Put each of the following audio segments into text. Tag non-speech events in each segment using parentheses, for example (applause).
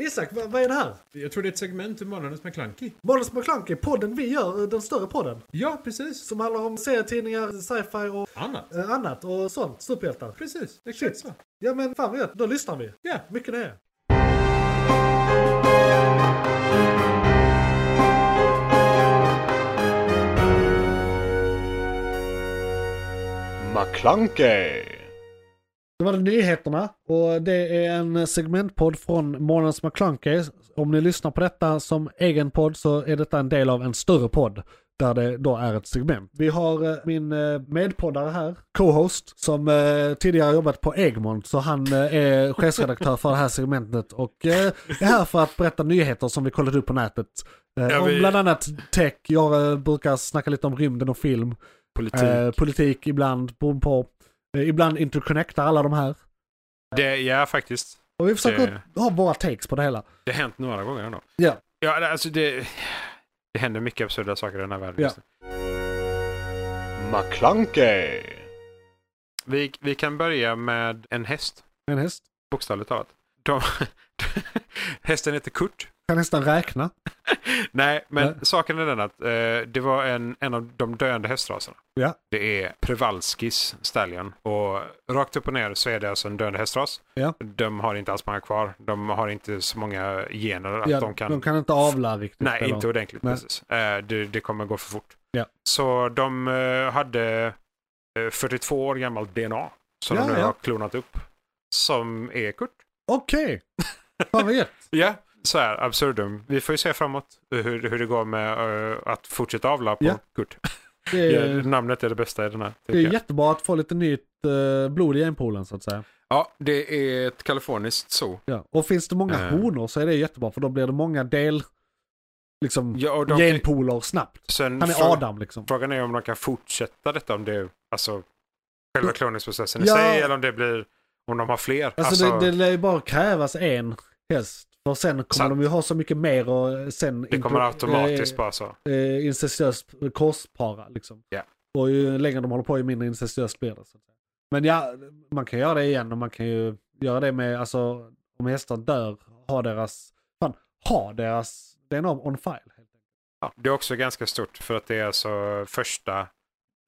Isak, vad, vad är det här? Jag tror det är ett segment ur Månadens McKlunky. Månadens McKlunky, podden vi gör, eh, den större podden. Ja, precis. Som handlar om serietidningar, sci-fi och Annat. eh, annat och sånt. Superhjältar. Precis. Exakt så. Ja men fan vad gött, då lyssnar vi. Ja. Mycket nöje. McClunkey! Det var det nyheterna och det är en eh, segmentpodd från Månadens McClunky. Om ni lyssnar på detta som egen podd så är detta en del av en större podd där det då är ett segment. Vi har eh, min eh, medpoddare här, co-host, som eh, tidigare jobbat på Egmont så han eh, är chefsredaktör för det här segmentet och eh, är här för att berätta nyheter som vi kollat upp på nätet. Eh, Ja, om vi- bland annat tech, jag eh, brukar snacka lite om rymden och film. Politik. Eh, politik ibland, beroende på. Eh, ibland interconnectar alla de här. det, ja, faktiskt. Och vi försöker Det- ha våra takes på det hela. Det har hänt några gånger ändå. Ja. Ja, det- alltså det... Det händer mycket absurda saker i den här världen Ja. just nu. McClunkey! vi, vi kan börja med en häst, En häst bokstavligt talat. De, (laughs) hästen heter Kurt. kan nästan räkna. Nej, men Nej. saken är den att eh, det var en, en av de döende hästraserna. Ja. Det är Przewalskis stallion. Och rakt upp och ner så är det alltså en döende hästras. Ja. De har inte alls många kvar. De har inte så många gener att Ja, de kan... inte avla riktigt. Nej, eller- inte ordentligt. Nej. Precis. Eh, det, det kommer gå för fort. Ja. Så de eh, hade eh, 42 år gammalt DNA som Ja, de nu ja. har klonat upp. Som är Kurt. (laughs) Okej. Fan vad gött. Ja, så här absurdum. Vi får ju se framåt hur, hur det går med eh, att fortsätta avla på Ja. Eh, Kurt. Det är, Ja, namnet är det bästa i den här. tycker det är jag. jättebra att få lite nytt eh, blod i genpoolen så att säga. Ja, det är ett kaliforniskt zoo. Ja. Och finns det många Eh. honor så är det jättebra för då blir det många del... Liksom Ja, och de kan, genpooler snabbt. sen, Han är frå- Adam liksom. Frågan är om de kan fortsätta detta, om det är alltså, själva kloningsprocessen i Mm. Ja. sig eller om det blir om de har fler. Alltså, Alltså, det, det lär ju bara krävas en häst. För sen kommer Sant. de ju ha så mycket mer och sen... det kommer impro- automatiskt eh, bara så. eh, incestuöst korspara. Liksom. Ja. Och ju längre de håller på ju mindre incestuöst blir det. Så. att säga. Men ja, man kan göra det igen och man kan ju göra det med, alltså om hästar dör, ha deras, fan, ha deras DNA on file. Helt enkelt. Ja, det är också ganska stort för att det är alltså första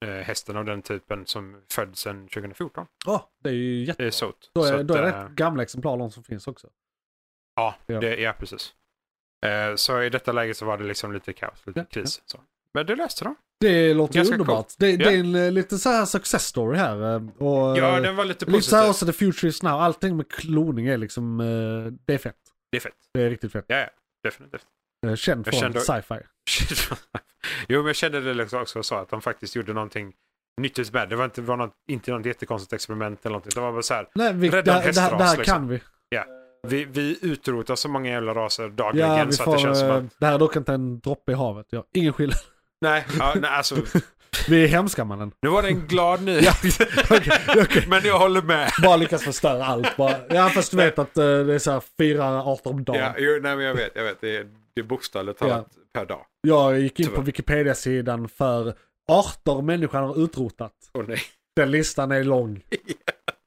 eh, hästen av den typen som föddes sedan 2014 Ja, det är ju jättebra. i SOT. Då Så är, att, då är det eh, rätt gamla exemplar de som finns också. Ja, Ja. det, ja precis. Eh, så i detta läge så var det liksom lite kaos, lite Ja, kris. Så. Men det löste de. Det låter ju Ganska underbart. coolt. Det, Ja. det är en eh, lite så här success story här. eh, Och, Ja, eh, den var lite lite så här positiv. också the future is now. Allting med kloning är liksom, eh, det är fett. Det är fett. Det är riktigt fett. Ja, ja. Definitivt. (laughs) Eh, Känd Jag från kände- sci-fi. jo, men jag kände det liksom också så att de faktiskt gjorde någonting nyttigt med det. Det var inte, var något, inte något jättekonstigt experiment eller någonting. Det var bara så här. Nej, vi, det, Rädda det, en här- det här hästras, liksom. kan vi. Vi, vi utrotar så många jävla raser dagligen Ja, vi så får, att det känns som eh, att... det här är dock inte en droppe i havet. Ja, ingen skillnad. Nej, ja, nej, (laughs) alltså. Vi är hemska mannen. Nu var det en glad nyhet. okej. (laughs) Men jag håller med. Bara lyckas förstöra allt. Bara. Ja, fast du vet att eh, det är så här fyra arter om dagen. Ja, jo, nej, men jag vet. Jag vet. Det är, det är bokstavligt Ja. talat per dag. Jag gick in på Tyvärr. Wikipedia-sidan för arter människan har utrotat. Åh nej. Den listan (laughs) är lång.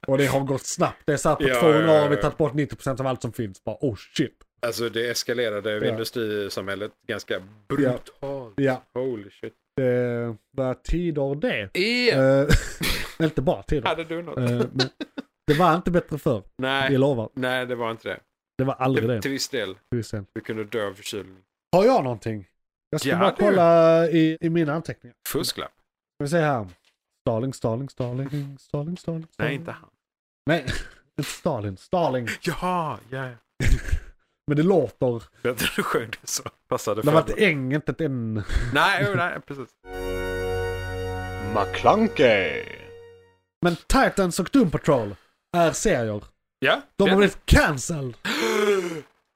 Och det har gått snabbt. Det är så här på Ja, 200 år ja, ja, har vi ja. tagit bort 90% av allt som finns. Bara oh shit. Alltså det eskalerade Ja. industrisamhället ganska brutalt. Ja, Holy shit. det var tider det. Yeah. (laughs) inte bara tider. E! Hade du något? Eh, men det var inte bättre förr. nej, Jag lovar. nej, det var inte det. typ- Det var aldrig det. Till viss del. till sen. Du kunde dö av förkylning. Har jag någonting? Jag ska Ja, bara du. kolla i, i mina anteckningar. Fusklapp? Ska vi se här. Stalin, Stalin, Stalin, Stalin, Stalin, Stalin. Nej, inte han. Nej, (laughs) inte Stalin. Stalin. Jaha, ja. ja. Men det låter... Bättre du sjöng det så. Passade Det var ett mig. äng, inte ett n. Nej, jo, nej, precis. McClunkey! Men Titans och Doom Patrol är serier. Ja, De det- har blivit cancelled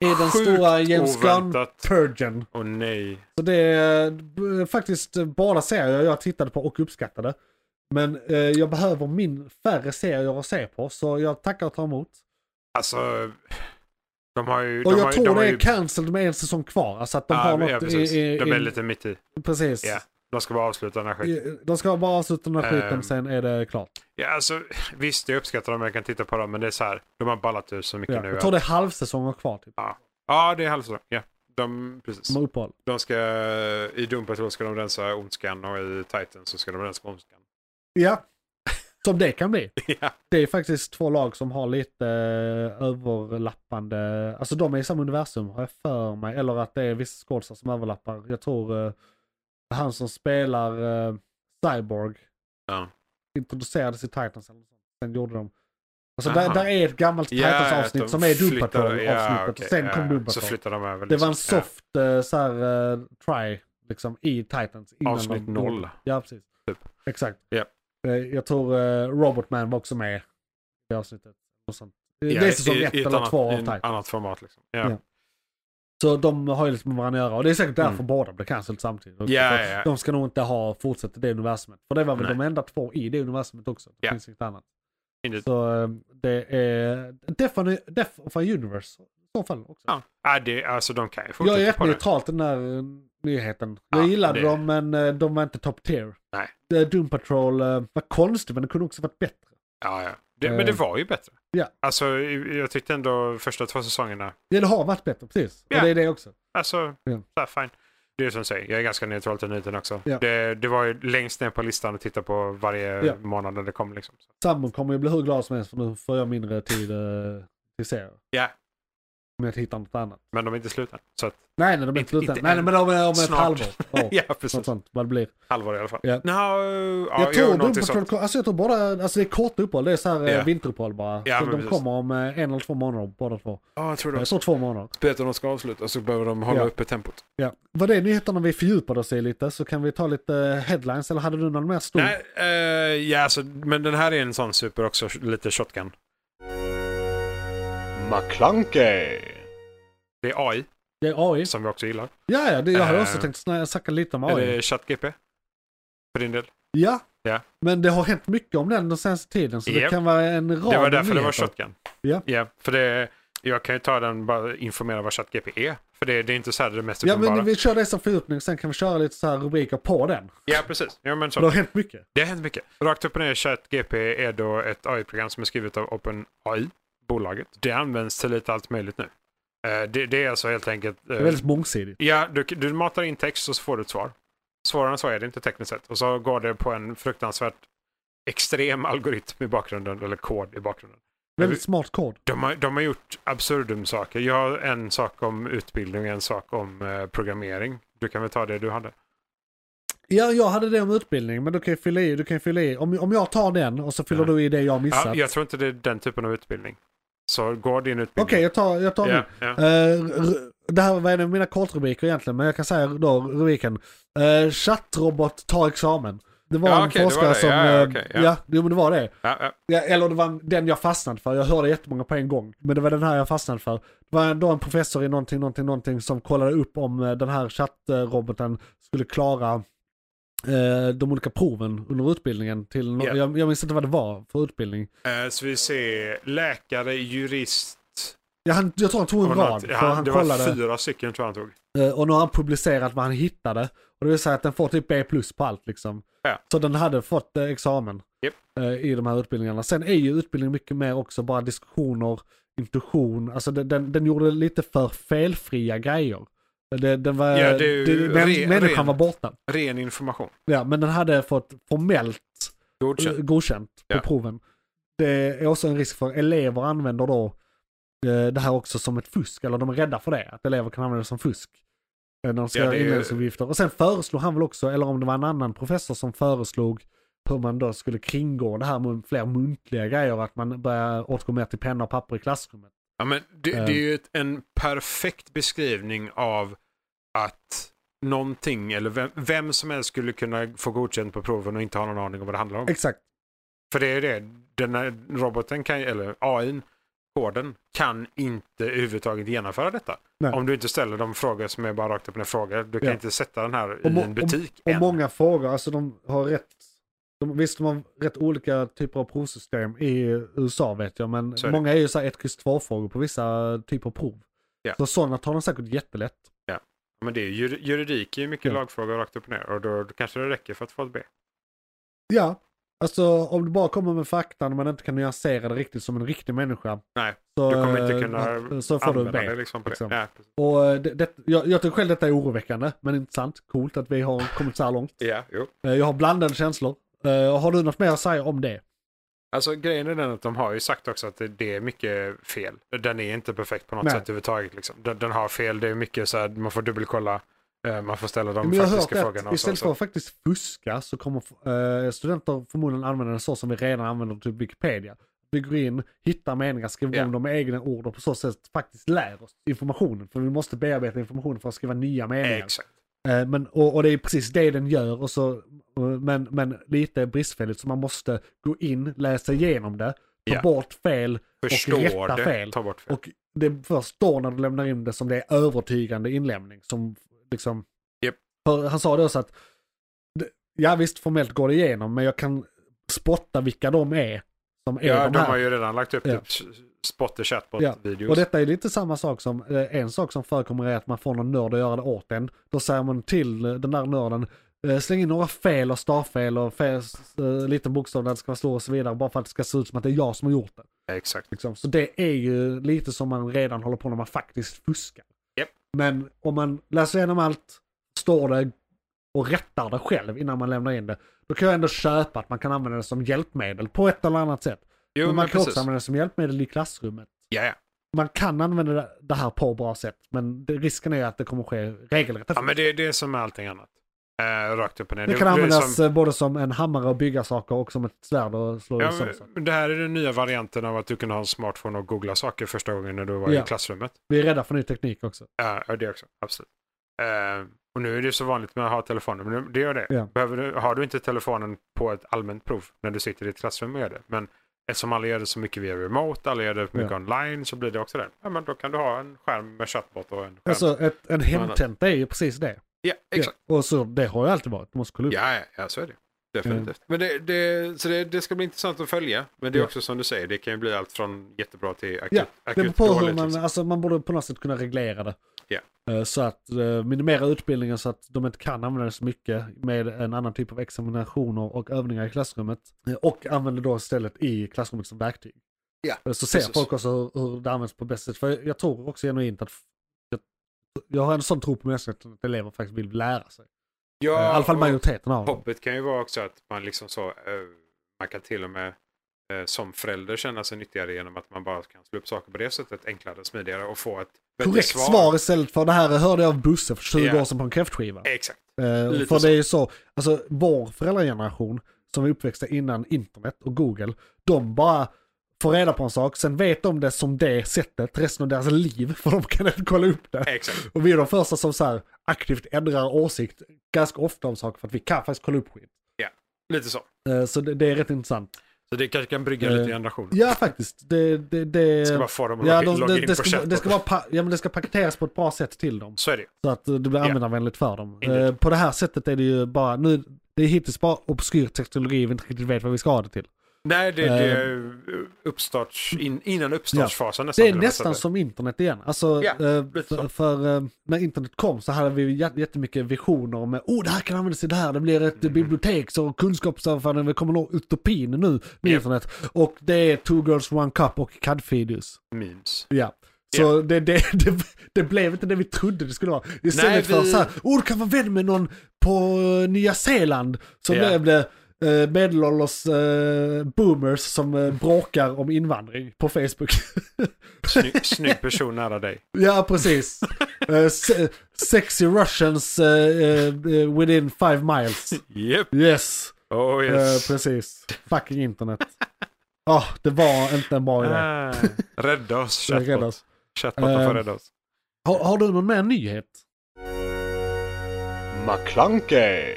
i den Sjukt stora James oväntat. Gunn-purgen. (gasps) Åh nej. Så det är eh, faktiskt eh, bara serier jag tittade på och uppskattade. Men eh, jag behöver min färre serier att se på, så jag tackar och tar emot. Alltså, de har ju... Och de jag har, ju- tror de har det är ju, cancelled med en säsong kvar. Alltså att de har ja, något ja, precis. i, i, De är i- lite mitt i. Precis. Ja, de ska bara avsluta den här skiten. I- De ska bara avsluta den här skiten, Ehm. sen är det klart. Ja, alltså, visst, jag uppskattar dem, jag kan titta på dem, men det är så här. De har ballat ur så mycket Ja. nu. Jag tror det är halvsäsonger kvar. Typ. Ja, Ja, det är halvsäsong. Ja, de, precis. De har uppehåll. De ska, I Doom Patrol ska de rensa ondskan och i Titan så ska de rensa (laughs) ondskan. Ja. Som det kan bli. ja. Det är faktiskt två lag som har lite eh, överlappande, alltså de är i samma universum har jag för mig. Eller att det är vissa skådisar som överlappar. Jag tror eh, han som spelar eh, Cyborg Ja. introducerades i Titans eller något sånt. Sen gjorde de. Alltså Aha. där, där är ett gammalt Titans att avsnitt de som är Doom flyttar- Patrol avsnittet ja, och okej, sen kom ja, Doom Så Patrol. flyttar de över. Det var en liksom. soft eh, så här, eh, try liksom i Titans. innan Avsnitt de- noll. Ja precis. Typ. Exakt. Ja. Eh, Jag tror eh, Robotman var också med i det avsnittet. Och sånt. Eh, Ja, det är i- säsong i- ett i ett eller annat- två av I ett Titans. annat format liksom. Ja, Ja. Så de har ju lite med varandra att göra. Och det är säkert därför båda blev cancelled samtidigt. också. Mm. Ja, För ja, ja. De ska nog inte ha fortsatt i det universumet. För det var väl Nej. de enda två i det universumet också. Det Ja. finns inget annat. Indeed. Så eh, det är Death on, Death of a Universe i så fall också. ja. ja det, alltså de kan ju fortsätta Jag är rätt på det. neutralt den där eh, nyheten. Jag Ja, gillade det- dem men eh, de var inte top tier. Nej. Eh, Doom Patrol eh, var konstigt men det kunde också varit bättre. Ja, ja. Det, Eh. men det var ju bättre. Ja. Alltså jag tyckte ändå första två säsongerna, Ja, Det har varit bättre, precis. Ja. Och det är det också. alltså Ja. så här, fine. Det är som du säger, jag är ganska neutral till nyheten också. Ja. Det, det var ju längst ner på listan att titta på varje Ja. månad när det kom liksom. Så. Sambon kommer ju bli hur glad som helst för nu får jag mindre tid eh, till serier. Ja. Om jag hittar något annat. Men de är inte slut än. Så att, Nej, nej, de är Inte- inte slut än. inte Nej, nej, än. men om, om ett Snart. halvår. Ja, (laughs) ja precis. Något sånt, vad det blir. Halvår i alla fall. Ja. Nå, ja, jag tror Doom någonting sånt. Patrol, alltså jag tror båda, alltså det är korta uppehåll, det är så här Ja. yeah. vinteruppehåll bara. Ja, så men de precis. kommer om eh, en eller två månader båda två. Ja, jag tror det Jag också. tror två månader. Peter, de ska avsluta så behöver de hålla Ja. uppe tempot. Ja. Var det nyheterna vi fördjupade oss i lite så kan vi ta lite eh, headlines eller hade du någon mer stor? Nej, eh, ja, alltså, men den här är en sån super också, lite shotgun. McClunkey. Det är AI, Det är AI. som vi också gillar. Ja, ja, det, jag hade Eh. också tänkt snä- snacka lite om AI. Eller ChatGP. För din del. Ja. Ja. Men det har hänt mycket om den den senaste tiden så det Japp. kan vara en rad Det var därför det nyheter. var shotgun. Ja. ja för det, jag kan ju ta den bara informera vad ChatGP är. För det, det är inte så här det mest Ja, uppenbara. men vi kör det som fördjupning sen kan vi köra lite så här rubriker på den. Ja, precis. Ja, men För så. det har hänt mycket. Det har hänt mycket. Rakt upp och ner, ChatGP är då ett AI-program som är skrivet av OpenAI, bolaget. Det används till lite allt möjligt nu. Eh, Det, det är alltså helt enkelt... eh, Det är väldigt mångsidigt. Ja, du, du matar in text och så får du ett svar. Svårare än så är det inte tekniskt sett. Och så går det på en fruktansvärt extrem algoritm i bakgrunden, eller kod i bakgrunden. Väldigt smart kod. De har, de har gjort absurdum saker. Jag har en sak om utbildning och en sak om eh, programmering. Du kan väl ta det du hade? Ja, jag hade det om utbildning, men du kan ju fylla i. Du kan ju fylla i. Om, om jag tar den och så fyller Ja. du i det jag har missat. Ja, jag tror inte det är den typen av utbildning. Så går din Okej, utbildning... jag tar, jag tar nu. ja, ja. Eh, r- det här var en av mina kortrubriker egentligen, men jag kan säga då rubriken. Eh, chattrobot tar examen. Det var Ja, en okej, det var forskare det. som... Ja, ja, eh, okej, ja. ja. jo, men det var det. Ja, ja. Ja, eller det var den jag fastnade för. Jag hörde jättemånga på en gång. Men det var den här jag fastnade för. Det var då en professor i någonting, någonting, någonting som kollade upp om eh, den här chattroboten skulle klara eh, de olika proven under utbildningen. Till nå- Ja. jag, jag minns inte vad det var för utbildning. Eh, så vi ser läkare, jurist... Ja, han, jag tror han tog en och rad. något- För ja, han det kollade, var fyra stycken tror jag han tog. eh, och nu har han publicerat vad han hittade. Och det vill säga att den får typ B plus på allt liksom. Ja. Så den hade fått eh, examen Japp. eh, i de här utbildningarna. Sen är ju utbildning mycket mer också bara diskussioner, intuition. Alltså den, den, den gjorde lite för felfria grejer. Det, den var, Ja, det är ju men, re- människan rent. var borta. Ren information. Ja, men den hade fått formellt Godkänt. eh, godkänt på Ja. proven. Det är också en risk för elever använder då eh, det här också som ett fusk, eller de är rädda för det, att elever kan använda det som fusk. eh, När de ska Ja, göra det är ju- inlämningsuppgifter. Och sen föreslog han väl också, eller om det var en annan professor som föreslog hur man då skulle kringgå det här med fler muntliga grejer, att man börjar återgå mer till penna och papper i klassrummet. Ja, men det, Eh. det är ju ett, en perfekt beskrivning av att någonting eller vem, vem som helst skulle kunna få godkänt på proven och inte ha någon aning om vad det handlar om. Exakt. För det är ju det, den här roboten kan, eller AI, koden kan inte överhuvudtaget genomföra detta. Nej. Om du inte ställer de frågor som är bara rakt upp och ner frågor. Du kan Ja. inte sätta den här i Och må- en butik Och än. många frågor, alltså de har rätt, de, visst de har rätt olika typer av provsystem i USA vet jag, men Så är det. många är ju så här 1, kryss 2 frågor på vissa typer av prov. Ja. Så sådana tar de säkert jättelätt. Men det är ju, jur- juridik är ju mycket Ja. lagfrågor rakt upp och ner och då, då kanske det räcker för att få ett B. Ja, Alltså om du bara kommer med faktan men inte kan nyansera det riktigt som en riktig människa. Nej, så, du kommer eh, inte kunna Så får du använda det B. liksom på det. liksom. Ja, precis. Och eh, det, det, jag, jag tycker själv detta är oroväckande men intressant. Coolt att vi har kommit så här långt. ja, jo. Eh, Jag har blandade känslor. Eh, Har du något mer att säga om det? Alltså grejen är den att de har ju sagt också att det, det är mycket fel. Den är inte perfekt på något Nej. sätt överhuvudtaget. Liksom. Den, den har fel, det är mycket så här, man får dubbelkolla, eh, man får ställa de Men jag har hört faktiska frågorna. att och så- istället för så. att faktiskt fuska så kommer eh, studenter förmodligen använda det så som vi redan använder typ Wikipedia. Vi går in, hittar meningar, skriver Ja. om dem med egna ord och på så sätt faktiskt lär oss informationen. För vi måste bearbeta informationen för att skriva nya meningar. Exakt. Eh, Men, och, och det är precis det den gör, och så, eh, men, men lite bristfälligt. Så man måste gå in, läsa igenom det, ta Ja. bort fel och Förstår rätta det, fel. ta bort fel. Och det är först då när du lämnar in det som det är övertygande inlämning. Som liksom, Japp. för han sa det också att, det- ja visst formellt går det igenom, men jag kan spotta vilka de är som är ja, de de här. har ju redan lagt upp Ja. typ s- spotter Ja, chatbot-videos. Och detta är lite samma sak som, eh, en sak som förekommer är att man får någon nörd att göra det åt en. Då säger man till eh, den där nörden, eh, släng in några fel och stavfel och fel, eh, liten bokstav där det ska vara stor och så vidare, bara för att det ska se ut som att det är jag som har gjort det. Exakt. Liksom. Så det är ju lite som man redan håller på när man faktiskt fuskar. Japp. Men om man läser igenom allt, står det och rättar det själv innan man lämnar in det, då kan jag ändå köpa att man kan använda det som hjälpmedel på ett eller annat sätt. Jo, men men, man kan precis. också använda det som hjälpmedel i klassrummet. Ja, ja. Man kan använda det- det här på bra sätt, men det, risken är att det kommer ske regelrätta ja, fusk. men det, det är som med allting annat. Eh, rakt upp och ner. Det Det- kan det är användas som- eh, både som en hammare och bygga saker och som ett svärd och slå Ja, sönder saker. men det här är den nya varianten av att du kunde ha en smartphone och googla saker första gången när du var Ja. i klassrummet. Vi är rädda för ny teknik också. Ja, ja, det också. Absolut. Eh, och nu är det ju så vanligt med att ha telefoner, men nu- det gör det. Ja. Behöver du, har du inte telefonen på ett allmänt prov när du sitter i ett klassrum och gör det, men eftersom alla gör det så mycket via remote, alla gör det mycket Ja. online, så blir det också det. Ja, men då kan du ha en skärm med chattbot och en skärm. Alltså ett, en hemtenta är ju precis det. ja, exakt. Ja, och så, det har ju alltid varit. Du måste kolla upp. Ja, ja, ja så är det. Definitivt. Men det, det, så det, det ska bli intressant att följa. Men det är Mm. Ja. också som du säger, det kan ju bli allt från jättebra till akut, Ja, det beror akut på hur dåligt. man, liksom. alltså, man borde på något sätt kunna reglera det. Ja. Eh, Så att eh, minimera utbildningen så att de inte kan använda det så mycket med en annan typ av examinationer och övningar i klassrummet. Eh, Och använder då istället i klassrummet som verktyg. Ja, Eh, så ser precis. folk också hur, hur det används på bäst sätt. För jag tror också genuint att jag, jag har en sån tro på mänskligheten att elever faktiskt vill lära sig. Ja, Eh, I alla fall och majoriteten av dem. Hoppet kan ju vara också att man liksom så, eh, man kan till och med eh, som förälder känna sig nyttigare genom att man bara kan slå upp saker på det sättet enklare och smidigare och få ett vettigt Korrekt svar. svar istället för det här hörde jag av Busse för 20 Ja. år sedan på en kräftskiva. Exakt. Eh, Lite för så. det är ju så, alltså vår föräldrageneration som är uppväxta innan internet och Google, de bara får reda på en sak, sen vet de det som det sättet resten av deras liv, för de kan inte kolla upp det. Exakt. Och vi är de första som så här aktivt ändrar åsikt ganska ofta om saker för att vi kan faktiskt kolla upp skit. Lite så. Eh, Så det, det är rätt intressant. Så det kanske kan brygga Eh, lite generationer. Ja, faktiskt. Det, det, det, Ska bara få dem att ja, logga in- de, logga det, in det, på ska, det, chatten. ska vara pa, ja, men det ska paketeras på ett bra sätt till dem. Så är det ju. Så att eh, det blir Ja. användarvänligt för dem. Indeed. Eh, På det här sättet är det ju bara, nu, det är hittills bara obskyr teknologi vi inte riktigt vet vad vi ska ha det till. Nej, det, det Eh, är uppstarts, in, innan uppstartsfasen nästan. Det är till och med, så nästan att- som internet igen. Alltså, Ja, eh, lite för, så. för eh, när internet kom så hade vi ju jä- jättemycket visioner om oh, det här kan användas i det här, det blir ett mm. bibliotek och kunskapsöverföring, vi kommer nå utopin nu med Japp. internet. Och det är two girls one cup och CAD-videos. Memes. Ja. Så det, det, (laughs) det, det blev inte det vi trodde det skulle vara. Istället Nej, för vi- så här, oh du kan vara vän med någon på eh, Nya Zeeland. Så Ja. blev det eh, medelålders eh, boomers som eh, bråkar om invandring på Facebook. (laughs) Snygg, snygg person nära dig. ja, (laughs) precis. Eh, se, sexy Russians eh, eh, within five miles. Japp. Yes, Oh Eh, yes. precis. Fucking internet. ah det var inte en bra idé. Ah, rädda oss, Så rädda chatbot. oss. Chatboten Eh, får rädda oss. Har, har du någon mer nyhet? McClunkey.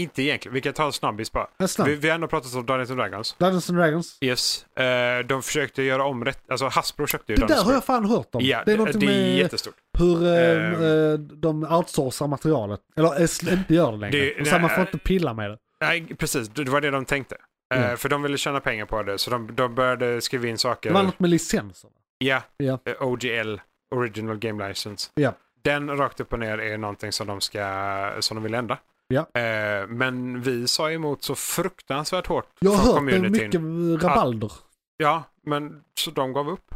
Inte egentligen. Vi kan ta en snabbis bara. En snabb. Vi, vi har ändå pratat om Dungeons and Dragons. Dungeons and Dragons? Yes. Eh, de försökte göra om rätt. Alltså Hasbro köpte ju Det där Dungeons har jag fan hört om. Ja, det det är är, någonting med jättestort. hur eh, Ehm. eh, de outsourcar materialet. Eller eh, sl- inte gör det längre. Det- och så man får nej. inte pilla med det. Nej, precis. Det det var det de tänkte. Eh, Mm. För de ville tjäna pengar på det, så de, de började skriva in saker. Det var något med licenser. Ja, Ja. eh, OGL, Original Game License. Ja. Den rakt upp och ner är någonting som de, ska, som de vill ändra. Ja. Eh, men vi sa emot så fruktansvärt hårt Jag har från hört det är communityn. mycket rabalder. Ja, men så de gav upp.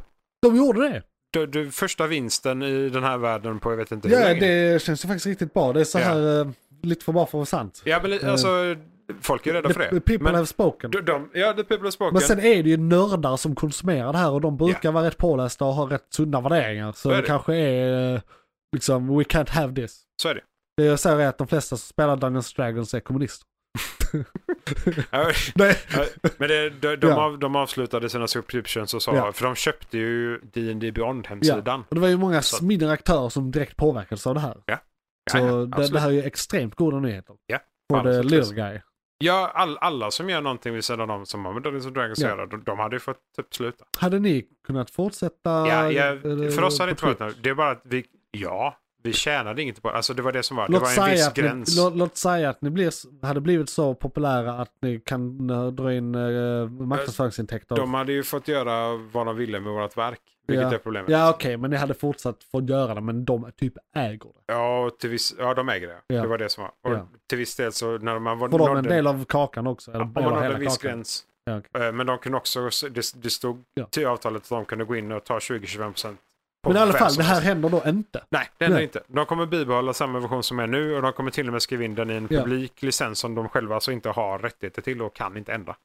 De gjorde det. Du, du, första vinsten i den här världen på jag vet inte hur Ja, länge. det känns ju faktiskt riktigt bra. Det är så Ja. här eh, lite för bra för att vara sant. Ja, men li- alltså, folk är rädda The, för det. the people men, have spoken. de, de, ja, the people have spoken. Men sen är det ju nördar som konsumerar det här och de brukar vara rätt pålästa och ha rätt sunda värderingar. Så är det det. kanske är eh, liksom, we can't have this. Så är det. Det jag säger är att de flesta som spelar Dungeons Dragons är kommunister. Ja, Nej. ja, men det, de, de, Ja. av, de avslutade sina subscriptions och sa, Ja. för de köpte ju D&D Beyond Ja. hemsidan. Och det var ju många Så- mindre aktörer som direkt påverkades av det här. Ja, Så ja, det, absolut. det här är ju extremt goda nyheter. Ja, Både absolut. Little Guy. Ja, all, alla som gör någonting vid sidan om som har med Dungeons and Dragons Ja. att göra, de, de hade ju fått typ sluta. Hade ni kunnat fortsätta? Ja, ja, eh, för oss hade det inte på varit Twitch? något. Det är bara att vi, ja, vi tjänade inget på det. Alltså det var det som var. Det Låt var en säga, viss att ni, gräns. låt, låt säga att ni blir, hade blivit så populära att ni kan eh, dra in eh, marknadsföringsintäkter. De hade ju fått göra vad de ville med vårt verk, vilket Ja. är problemet. Ja okej, men ni hade fortsatt fått göra det men de typ äger det. Ja, och till viss, ja, de äger det. Ja. Det var det som var. Och Ja. till viss del så när man var, Får de en nådde- del av kakan också? Eller ja, bara man nådde hela en viss kakan? gräns. Ja, okej. Eh, Men de kunde också, det, det stod Ja. till avtalet att de kunde gå in och ta 20-25% på Men i alla vem fall, som det här helst. händer då inte. Nej, det händer Nej. inte. De kommer bibehålla samma version som är nu och de kommer till och med skriva in den i en Ja. publik licens som de själva alltså inte har rättigheter till och kan inte ändra.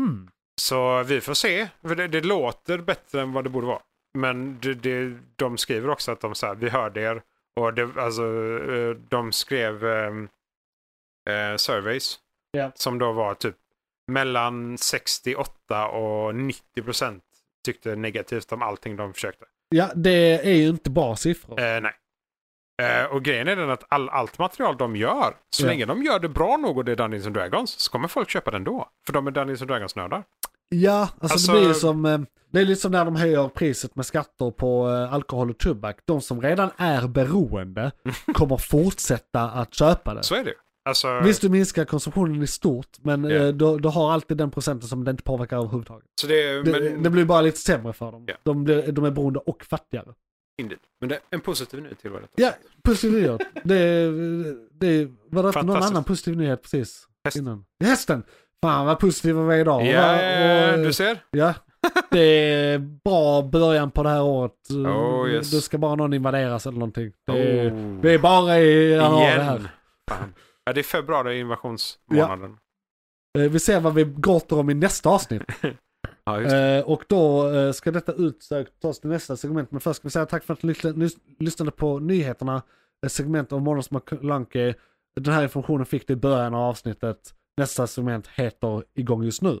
Mm. Så vi får se. För det, det låter bättre än vad det borde vara. Men det, det, de skriver också att de så här, vi hörde er. Och det, alltså, eh, de skrev ehm, eh, surveys. Ja. Som då var typ mellan 68 och 90 procent tyckte negativt om allting de försökte. Ja, det är ju inte bra siffror. Eh, nej. Eh, och grejen är den att all, allt material de gör, så Ja. länge de gör det bra nog och det är Dungeons and Dragons, så kommer folk köpa den då. För de är Dungeons and Dragons-nördar. Ja, alltså, Alltså- det blir ju som... eh, Det är lite som när de höjer priset med skatter på eh, alkohol och tobak. De som redan är beroende (laughs) kommer fortsätta att köpa det. Så är det ju. Alltså, Visst, du minskar konsumtionen i stort, men Ja. eh, du, du har alltid den procenten som det inte påverkar överhuvudtaget. Så det, Det, men, det blir bara lite sämre för dem. Ja. De, blir, de är beroende och fattigare. Indeed. men det är en positiv nyhet till vad detta. Ja, positiv nyhet. Det, det, var det inte någon Fantastiskt. annan positiv nyhet precis? Häst. Innan? Hästen! Fan vad positiva vi är idag. Ja, Och- Eh, och- du ser. Ja, det är bra början på det här året. Oh, yes. Oh. Det ska bara någon invaderas eller någonting. Det är, det är bara i januari Igen. här. Fan. Ja, det är februari, invasionsmånaden. Eh, Vi ser vad vi gråter om i nästa avsnitt. Ja, just det. Eh, och då eh, ska detta utsökt tas till nästa segment. Men först ska vi säga tack för att ni lys- lys- lyssnade på nyheterna. Ett segment av Månadens McLunky. Den här informationen fick du i början av avsnittet. Nästa segment heter Igång just nu.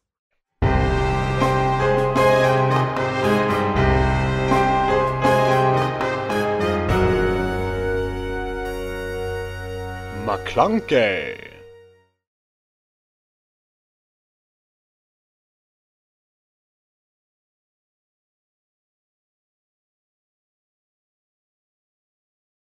McClunkey!